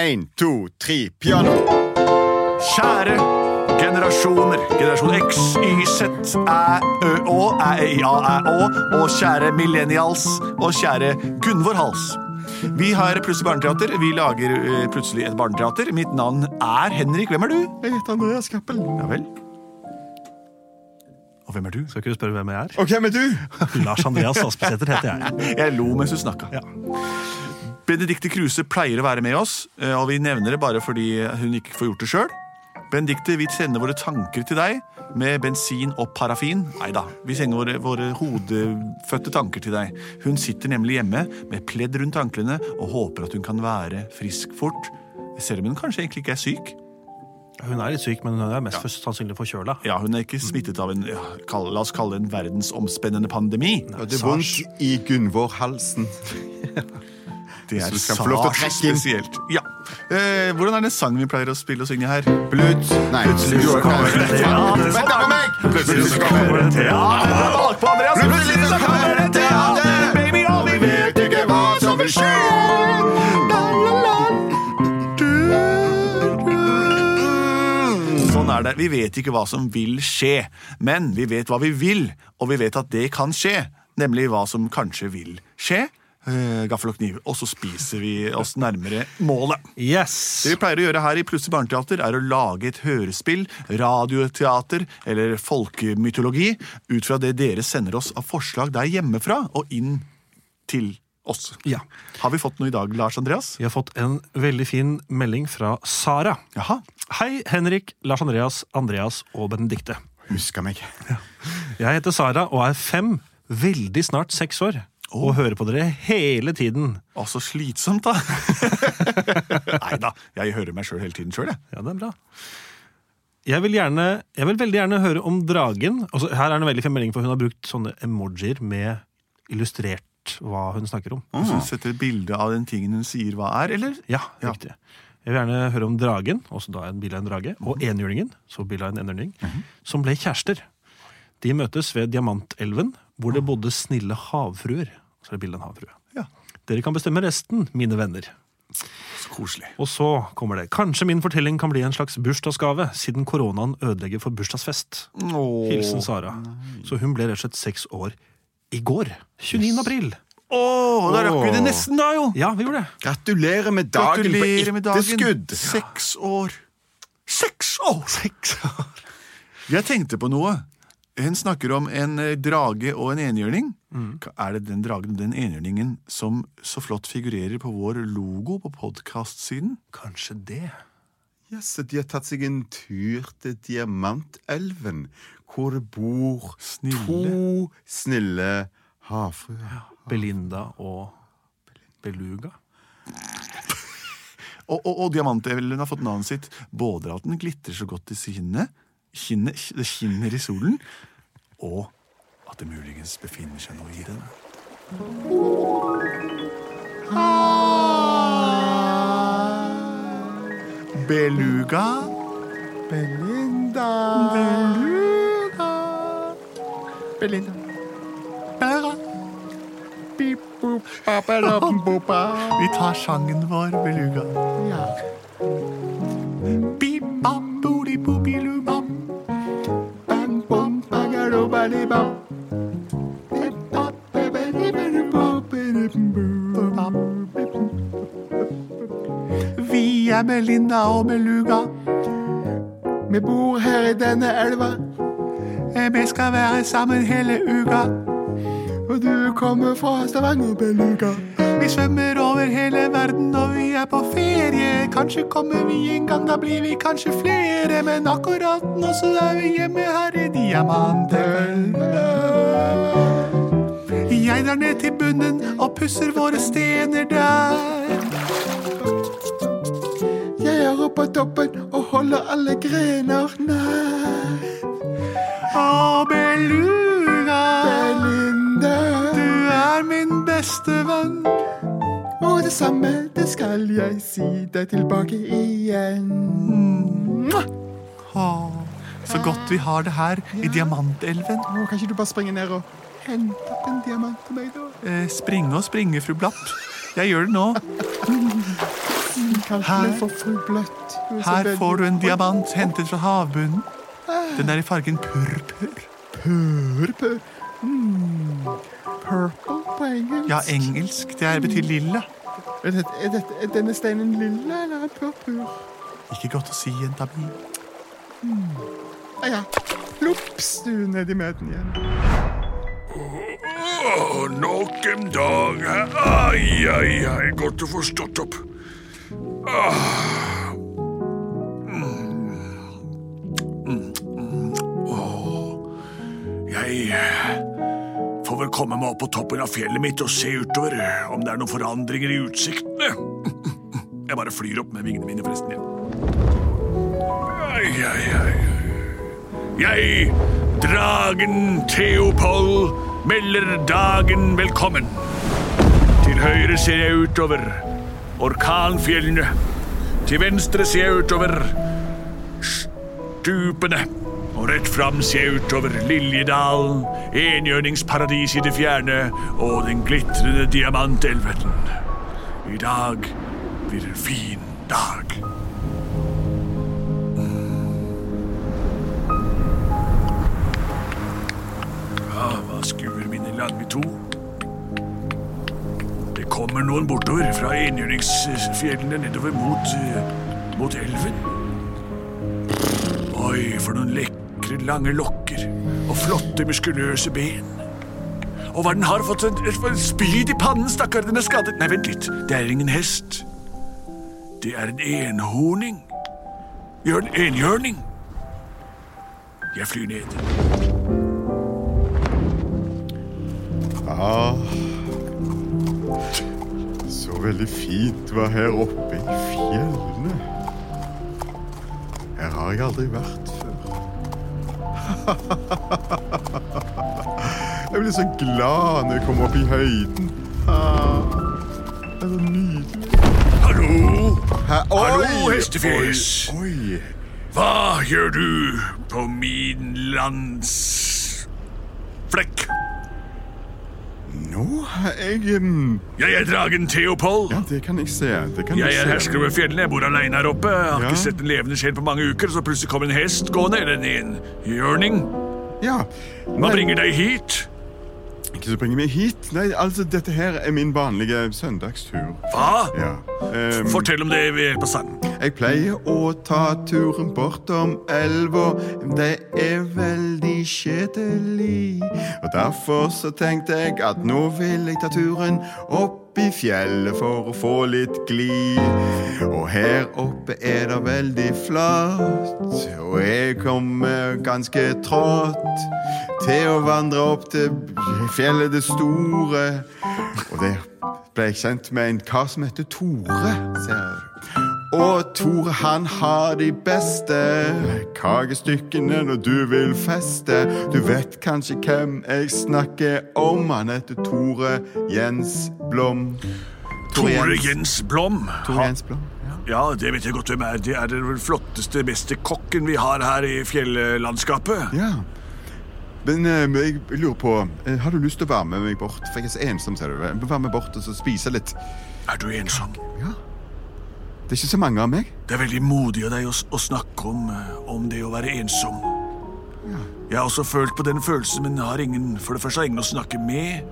Én, to, tre, piano. Kjære generasjoner. Generasjon X, Y, Z, Æ, Ø, Å, Æ, E, I, A, Æ, Å. Og kjære millennials. Og kjære Gunvor Hals. Vi har plutselig barneteater. Vi lager eh, plutselig et barneteater. Mitt navn er Henrik. Hvem er du? Jeg heter Andreas Cappelen. Ja vel. Og hvem er du? Skal ikke du spørre hvem jeg er? Og hvem er du? Lars Andreas Aspesæter heter jeg. Jeg lo mens du snakka. Ja. Benedicte Kruse pleier å være med oss, eh, og vi nevner det bare fordi hun ikke får gjort det sjøl. Benedicte, vi sender våre tanker til deg med bensin og parafin. Nei da, vi sender våre, våre hodefødte tanker til deg. Hun sitter nemlig hjemme med pledd rundt anklene og håper at hun kan være frisk fort. Selv om hun kanskje egentlig ikke er syk. Hun er litt syk, men hun er mest for, sannsynlig forkjøla. Ja, Hun er ikke smittet av en ja, kall, la oss kalle det en verdensomspennende pandemi. Og det er vondt i Gunvor Halsen. Det er du skal få lov til å sars trekke inn. spesielt. Ja. Eh, hvordan er det sangen vi pleier å spille og synge her? Blut. Nei. Plutselig så kommer det teater. Vent da på meg! Plutselig så kommer det Teater! Bakpå Andreas! Plutselig så kommer det teater! eh, Baby, all vi vet Vet ikke hva som vil skje. Sånn er det. Vi vet ikke hva som vil skje, men vi vet hva vi vil, og vi vet at det kan skje. Nemlig hva som kanskje vil skje. Eh, Gaffel og kniv. Og så spiser vi oss nærmere målet. Yes! Det vi pleier å gjøre her i Plutselig barneteater, er å lage et hørespill, radioteater eller folkemytologi ut fra det dere sender oss av forslag der hjemmefra og inn til oss. Ja. Har vi fått noe i dag, Lars Andreas? Vi har fått en veldig fin melding fra Sara. Jaha. Hei, Henrik, Lars Andreas, Andreas og Benedikte. Husker meg. Jeg heter Sara og er fem, veldig snart seks år, og hører på dere hele tiden. Å, så slitsomt, da. Nei da, jeg hører meg sjøl hele tiden sjøl, jeg. Ja, det er bra. Jeg vil, gjerne, jeg vil veldig gjerne høre om dragen. Altså, her er det en veldig fin melding, for hun har brukt sånne emojier med illustrert hva hun snakker om. Hvis hun setter et bilde av den tingen hun sier hva er, eller? Ja, riktig. Jeg vil gjerne høre om dragen, også da en bilde av en drage, og enhjørningen, så bilde av en enhjørning, som ble kjærester. De møtes ved Diamantelven, hvor det bodde snille havfruer. Så er det bilde av en havfrue. Ja. Dere kan bestemme resten, mine venner. Så koselig. Og så kommer det. Kanskje min fortelling kan bli en slags bursdagsgave, siden koronaen ødelegger for bursdagsfest. Hilsen Sara. Så hun ble rett og slett seks år i går. 29. april. Å, da rakk vi det Åh. nesten, da, jo! Ja, vi gjorde det. Gratulerer med dagen Gratulerer med på dagen. etterskudd. Seks år. Seks år! Seks år. Jeg tenkte på noe. Hun snakker om en eh, drage og en enhjørning. Mm. Ka- Er det den dragen og den enhjørningen som så flott figurerer på vår logo på podkastsiden? Kanskje det. Yes, de har tatt seg en tur til Diamantelven, hvor det bor Snille. to snille havfruer. Belinda og Beluga. Og, og, og diamantevelen har fått navnet sitt både at den glitrer så godt i skinnet, skinnet det skinner i solen, og at det muligens befinner seg noe i den. Beluga. Belinda Beluga. Belinda Bæra. Vi tar sangen vår, Beluga. Bip-bap, booty-boop-i-loo-bap. Vi er Belinda og Beluga. Vi bor her i denne elva, Eh, Vi skal være sammen hele uka. og du kommer fra Stavanger, Beluga. Vi svømmer over hele verden, og vi er på ferie. Kanskje kommer vi en gang, da blir vi kanskje flere. Men akkurat nå så er vi hjemme her i Diamantelven. Jeg drar ned til bunnen og pusser våre stener der. Jeg er oppe på toppen og holder alle grener nær. Å, Beluga, Belinda, du er min beste venn. og det samme, det skal jeg si deg tilbake igjen. Å, så godt vi har det her i Diamantelven. Å, kan ikke du bare springe ned og hente opp en diamant til meg, da? Eh, springe og springe, fru Blapp. Jeg gjør det nå. kaldt, Her. men for forbløtt. Det er så Her veldig får du en diamant hentet fra havbunnen. Den er i fargen purpur. Purpur. Mm. Purple på engelsk. Ja, engelsk. Det er betyr lilla. Er, dette, er, dette, er denne steinen lilla eller er den purpur? Ikke godt å si, jenta mi. Ja, Ah, ja. Lops, du, nedi med den igjen. Og nok en dag her. Ai, ai, ai. Godt å få stått opp. Ah. Mm. Mm. Åh. Jeg eh, får vel komme meg opp på toppen av fjellet mitt og se utover eh, om det er noen forandringer i utsiktene. Jeg bare flyr opp med vingene mine, forresten. jeg. Ai, ai, ai. Jeg, dragen Theopold, melder dagen velkommen. Til høyre ser jeg utover orkanfjellene. Til venstre ser jeg utover stupene. Og rett fram ser jeg utover Liljedalen, enhjørningsparadis i det fjerne og den glitrende diamantelven. I dag blir en fin dag. Ja, hva skuer mine land i to? Det kommer noen bortover fra enhjørningsfjellene nedover mot, eh, mot elven. Oi, for noen lekre, lange lokker og flotte, muskuløse ben. Og hva den har fått en, et- en spyd i pannen, stakkar, den er skadet. Nei, vent litt, det er ingen hest. Det er en enhorning. Gjør en enhjørning. Jeg flyr ned. Ja Ah. Så veldig fint var her oppe i fjellene. Her har jeg aldri vært før. Jeg ble så glad når jeg kom opp i høyden. Ah, Det er så nydelig. Hallo? Hæ? Oi, Hallo, hestefjes. Oi, oi. Hva gjør du på min landsflekk? Nå har jeg em, Jeg er dragen Theopold. Ja, det kan jeg se. Det kan Jeg jeg er se. hersker over fjellene, jeg bor aleine her oppe. Jeg har Ja. ikke sett en levende sjel på mange uker, så plutselig kommer en hest gående, eller en enhjørning. Ja. Hva Nei, bringer deg hit? Ikke så bringer meg hit. Nei, altså, dette her er min vanlige søndagstur. Hva? Ja. Ehm, Fortell om det ved hjelp av sangen. jeg pleier å ta turen bortom elva. Det er veldig kjedelig. Og derfor så tenkte jeg at nå vil jeg ta turen opp i fjellet for å få litt gli. Og her oppe er det veldig flatt. Og jeg kommer ganske trått til å vandre opp til fjellet det store. Og der ble jeg kjent med en kar som heter Tore. ser du. Og Tore han har de beste kakestykkene når du vil feste. Du vet kanskje hvem jeg snakker om. Han heter Tore Jens Blom. Tore Jens Blom. Tore Jens Blom. Ja, det vet jeg godt hvem er. Det er den flotteste, beste kokken vi har her i fjellandskapet. Ja. Men eh, jeg lurer på eh, Har du lyst til å være med meg bort? For jeg er så ensom, ser du. Vær med bort og så spise litt. Er du ensom? Det er ikke så mange av meg. Det er veldig modig av deg å, s- å snakke om, eh, om det å være ensom. Jeg har også følt på den følelsen, men har ingen, for det første har ingen å snakke med.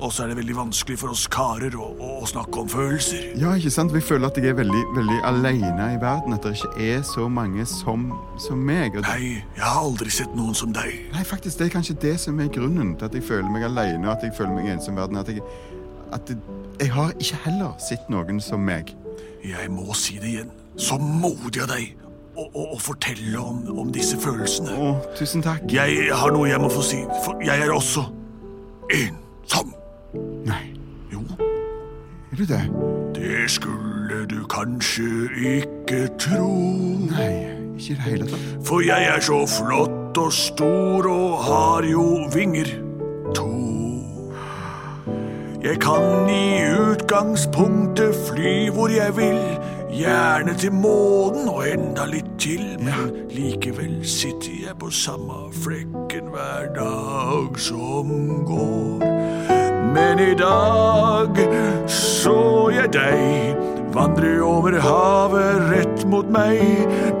Og så er det veldig vanskelig for oss karer å, å, å snakke om følelser. Ja, ikke sant? Jeg føler at jeg er veldig, veldig alene i verden. At det ikke er så mange som, som meg. Og det, Nei, jeg har aldri sett noen som deg. nei, faktisk, det er kanskje det som er grunnen til at jeg føler meg alene og at jeg føler meg ensom i verden. At jeg, at jeg, jeg har ikke heller sett noen som meg. Jeg må si det igjen. Så modig av deg å, å, å fortelle om, om disse følelsene. Å, tusen takk. Jeg har noe jeg må få si, for jeg er også ensom. Nei, Jo, er du det? det skulle du kanskje ikke tro. Nei, ikke i det hele tatt. For jeg er så flott og stor og har jo vinger to. Jeg kan i utgangspunktet fly hvor jeg vil, gjerne til månen og enda litt til, men likevel sitter jeg på samme flekken hver dag som går. Men i dag så jeg deg vandre over havet mot meg.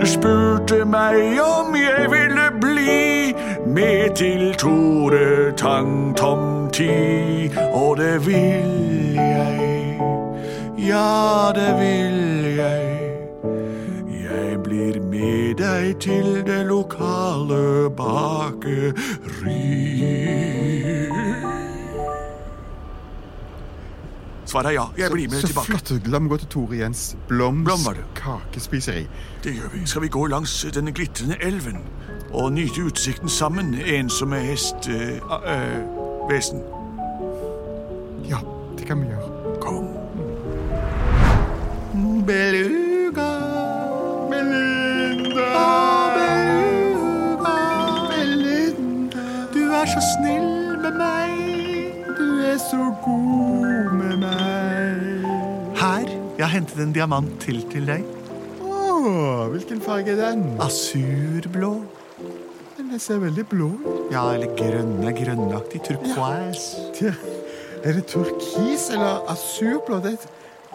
Du spurte meg om jeg ville bli med til Tore Tang Tomti, og det vil jeg. Ja, det vil jeg. Jeg blir med deg til det lokale bakeri. Svaret er ja. Jeg blir med Så tilbake. flott. La meg gå til Tore Jens Bloms Blom var det. kakespiseri. Det gjør vi. Skal vi gå langs denne glitrende elven og nyte utsikten sammen, ensomme hest... eh, eh, vesen. Ja, det kan vi gjøre. Kom. Beluga, Belinda. Beluga, Belinda. Du er så snill med meg. Du er så god med meg. Her. Jeg har hentet en diamant til til deg. Å, hvilken farge er den? Asurblå. Den ser veldig blå ut. Ja, eller grønne, grønnaktig. Turquoise. Ja. Er det turkis eller asurblå? Det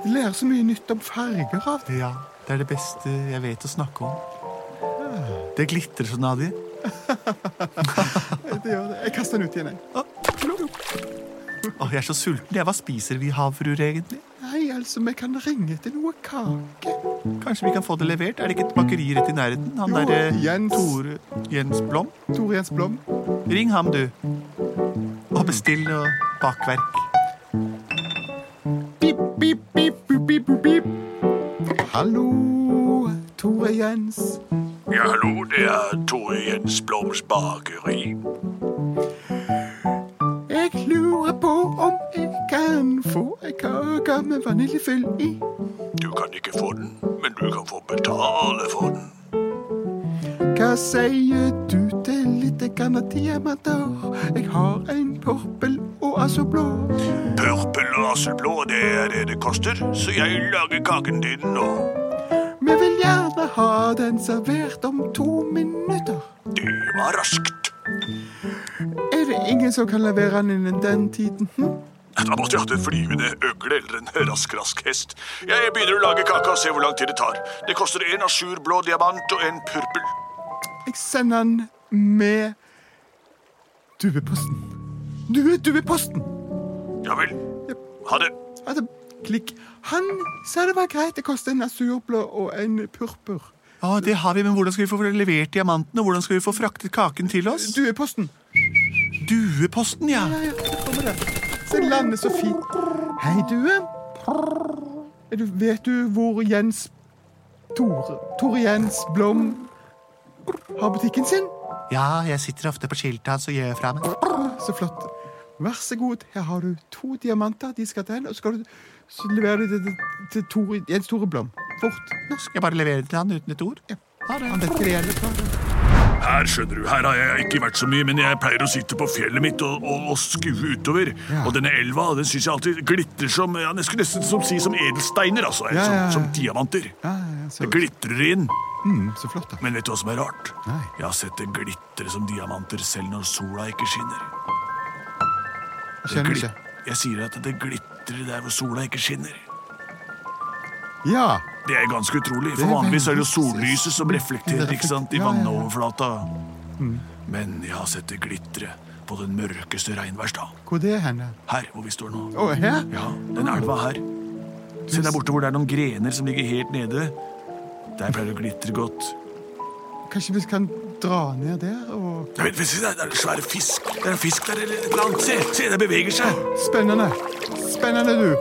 jeg lærer så mye nytt om farger av det. Ja, det er det beste jeg vet å snakke om. Det glitrer sånn så, Nadia. det gjør det. Jeg kaster den ut igjen, jeg. Åh, jeg er så sulten. Jeg, hva spiser vi, havfruer, egentlig? Nei, altså, vi kan ringe til noe kake. Kanskje vi kan få det levert? Er det ikke et bakeri rett i nærheten? Han Jo, derre Jens. Tore Jens Blom? Tore Jens Blom. Ring ham, du. Og bestill noe bakverk. Pip, pip, pip, pip, pip, pip. Hallo, Tore Jens. Ja, hallo, det er Tore Jens Bloms bakeri. Jeg lurer på om jeg kan få ei kake med vaniljefyll i. Du kan ikke få den, men du kan få betale for den. Hva sier du til litt grann diamanter? Jeg har en purpel og altså blå. Purpel og aselblå, det er det det koster, så jeg lager kaken din nå. Vi vil gjerne ha den servert om to minutter. Det var raskt. Er det ingen som kan levere den innen den tiden? Hm? Da måtte jeg hatt en flyvende øgle eller en rask-rask hest. Jeg begynner å lage kaka og se hvor lang tid det tar. Det koster en asurblå diamant og en purpel. Jeg sender den med dueposten. Due, dueposten! Ja vel. Ha det. Altså, klikk. Han sa det var greit. Det koster en asurblå og en purpur. Ja, det har vi, men hvordan skal vi få levert diamantene? Hvordan skal vi få fraktet kaken til oss? Dueposten. Dueposten, ja. Ja, ja, det kommer der. Se, den lander så fint. Hei, due. Er du, vet du hvor Jens Tore, Tore Jens Blom har butikken sin? Ja, jeg sitter ofte på skiltet hans og gjør fra meg. Så flott. Vær så god, her har du to diamanter. De skal til henne, og så, skal du, så leverer du det til- til Tore, Jens Tore Blom. Fort. Nå skal jeg bare levere det til han uten et ord. Ha Han det. vet ikke det gjelder. ta det. Her skjønner du, her har jeg ikke vært så mye, men jeg pleier å sitte på fjellet mitt og, og, og skue utover. Og denne elva den syns jeg alltid glitrer som ja, jeg skulle nesten som si som edelsteiner, altså. eller Ja, ja, ja. Som, som diamanter. Ja, ja, ja, så, Det glitrer inn. mm, så flott, da. Men vet du hva som er rart? Nei. Jeg har sett det glitre som diamanter selv når sola ikke skinner. Jeg Det skjønner glit- ikke. Jeg sier at det glitrer der hvor sola ikke skinner. Ja. Det er ganske utrolig, Det for er vanligvis er det jo veldig- sollyset som reflekterer ikke sant, i Ja, Mm. ja, ja. vannoverflata. Men jeg har sett det glitre på den mørkeste regnværsdag. Hvor det er henne? Her hvor vi står nå. Å, her? Ja, den elva her. Se der borte hvor det er noen grener som ligger helt nede. Der pleier det å glitre godt. Kanskje vi kan dra ned der og Ja, vent, vent, se der, der er det svære fisk. Det er en fisk der eller et eller annet. Se, se, det beveger seg. Spennende. Spennende, du.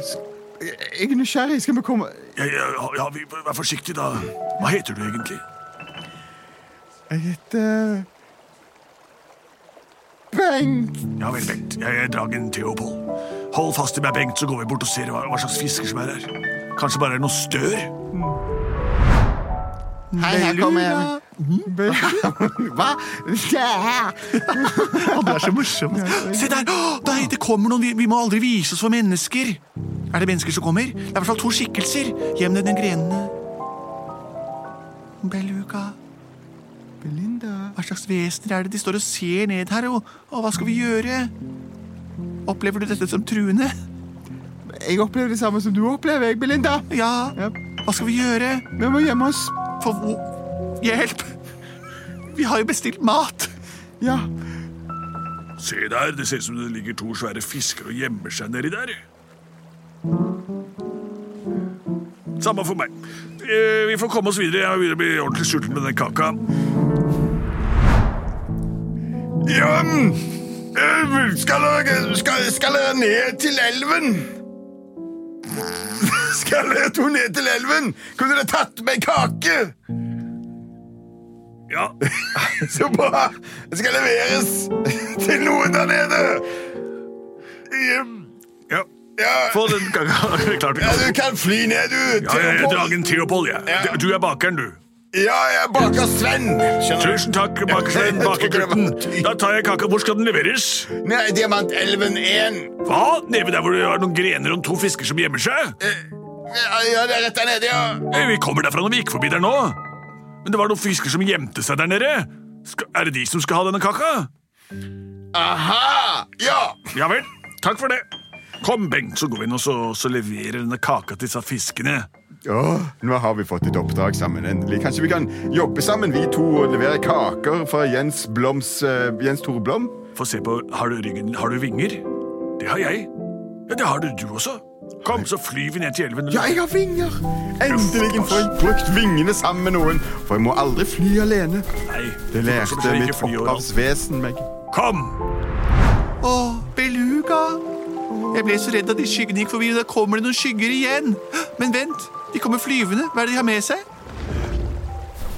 Sk- Jeg er nysgjerrig. Skal vi komme Ja, ja, ja, vi, vær forsiktig da. Hva heter du egentlig? Jeg heter Bengt. Ja vel, Bengt. Jeg er Dragen Theopold. Hold fast i meg, Bengt, så går vi bort og ser hva, hva slags fisker som er her. Kanskje bare er det noe stør? Hei, her kommer jeg. Mm. Hva? Ja. Å, du er så morsom. Se der! Å, Nei, det kommer noen. Vi, vi må aldri vise oss for mennesker. Er det mennesker som kommer? Det er i hvert fall to skikkelser. Gjem ned den grenene. Beluga, Belinda hva slags vesener er det? De står og ser ned her, og, og hva skal vi gjøre? Opplever du dette som truende? Jeg opplever det samme som du opplever, jeg, Belinda. Ja. Ja. Hva skal vi gjøre? Vi må gjemme oss. For hvor Hjelp! Vi har jo bestilt mat! Ja. Se der, det ser ut som det ligger to svære fisker og gjemmer seg nedi der. Samme for meg. Eh, Vi får komme oss videre. Jeg begynner å bli ordentlig sulten med den kaka. Ja, mm. Eh, skal dere, skal, skal dere ned til elven? Skal dere to ned til elven? Kunne dere tatt med kake? Ja, Så bra! Det skal leveres til noen der nede. Ehm, ja. Ja, Få den kaka. Klart vi ja kan. du kan fly ned, du. ja jeg er Theopold. dragen Theopold, jeg. Ja. Du er bakeren, du. Ja, jeg er baker Sven. Skjønner du? Tusen takk, bakersvenn, bakegutten. Da tar jeg kaka. Hvor skal den leveres? Nei, Diamantelven 1. Hva? Nede der hvor det er noen grener og to fisker som gjemmer seg? Eh, Ja, ja, det er rett der nede, ja. Eh, Vi kommer derfra når vi gikk forbi der nå. Men det var noen fisker som gjemte seg der nede. Skal, er det de som skal ha denne kaka? Aha! Ja! Ja vel. Takk for det. Kom, Bengt, så går vi inn og så, så leverer denne kaka til disse fiskene. Åh, nå har vi fått et oppdrag sammen endelig. Kanskje vi kan jobbe sammen, vi to, og levere kaker fra Jens Bloms eh, Jens Tore Blom? Få se på Har du ryggen Har du vinger? Det har jeg. Ja, Det har du, du også. Kom, så flyr vi ned til elven. Ja, jeg har vinger! Endelig får jeg brukt vingene sammen med noen, for jeg må aldri fly alene. Nei, Det som lærte ikke mitt fly overalt. opphavsvesen meg. Kom! Å, beluga! Jeg ble så redd at de skyggene gikk forbi. og Da kommer det noen skygger igjen. Men vent, de kommer flyvende. Hva er det de har med seg?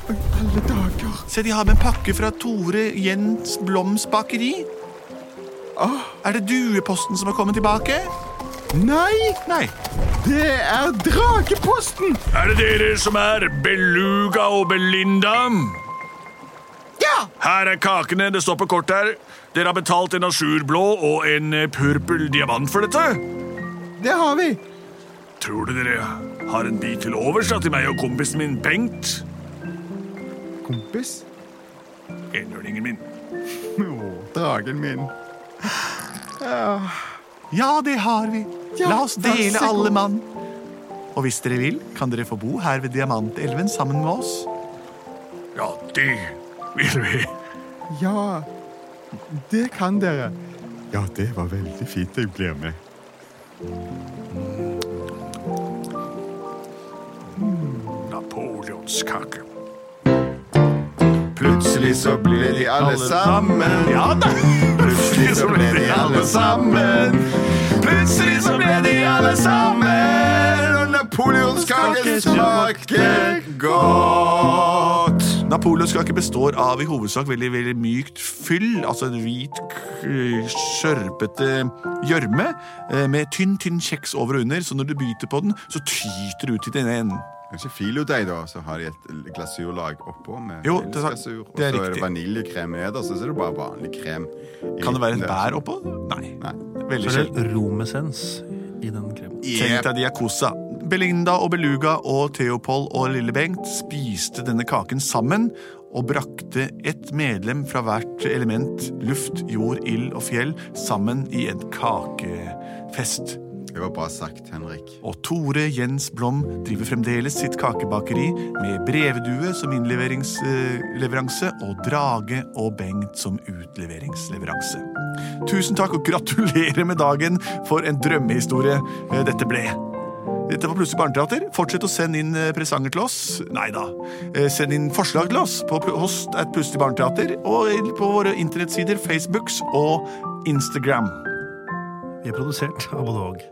Alle dager. Se, de har med en pakke fra Tore Jens Bloms bakeri. Er det dueposten som har kommet tilbake? Nei, Nei. det er Drageposten! Er det dere som er Beluga og Belinda? Ja! Her er kakene. Det står på kortet her. Dere har betalt en asurblå og en eh, purpel diamant for dette. Det har vi. Tror du dere har en bit til overs da, til meg og kompisen min Bengt? Kompis. Enhjørningen min. Åh, dragen min. Ja, det har vi. Ja, La oss vær dele så god. alle mann. Og hvis dere vil, kan dere få bo her ved Diamantelven sammen med oss. Ja, det vil vi. Ja, det kan dere. Ja, det var veldig fint. Jeg blir med. Napoleonskake. Plutselig så ble de alle sammen. Ja da! Plutselig så ble de alle sammen. Plutselig så ble de alle sammen. Og napoleonskake smaker godt. Napoleonskake består av i hovedsak veldig veldig mykt fyll, altså en hvit, k- skjørpete gjørme eh, med tynn, tynn kjeks over og under, så når du biter på den, så tyter det ut i den ene enden. Kanskje filodeig, da. Så har de et glasurlag oppå med Jo, det er- vaniljesglasur. Og det så er er det riktig. vaniljekrem nederst, og så er det bare vanlig krem. i Kan det være et midten der. bær oppå? Nei. Nei. Veldig Så er sjelden. det romessens i den kremen. Tenk deg de er kosa. Belinda og Beluga og Theopold og Lille Bengt spiste denne kaken sammen og brakte ett medlem fra hvert element, luft, jord, ild og fjell, sammen i en kakefest. Det var bra sagt, Henrik. Og Tore Jens Blom driver fremdeles sitt kakebakeri med brevdue som innleveringsleveranse og Drage og Bengt som utleveringsleveranse. Tusen takk og gratulerer med dagen for en drømmehistorie eh, dette ble. Dette var Plutselig barneteater. Fortsett å sende inn eh, presanger til oss. Nei da. Eh, Send inn forslag til oss på pl- host at Plutselig barneteater og på våre internettsider Facebooks og Instagram. Vi er produsert av både og.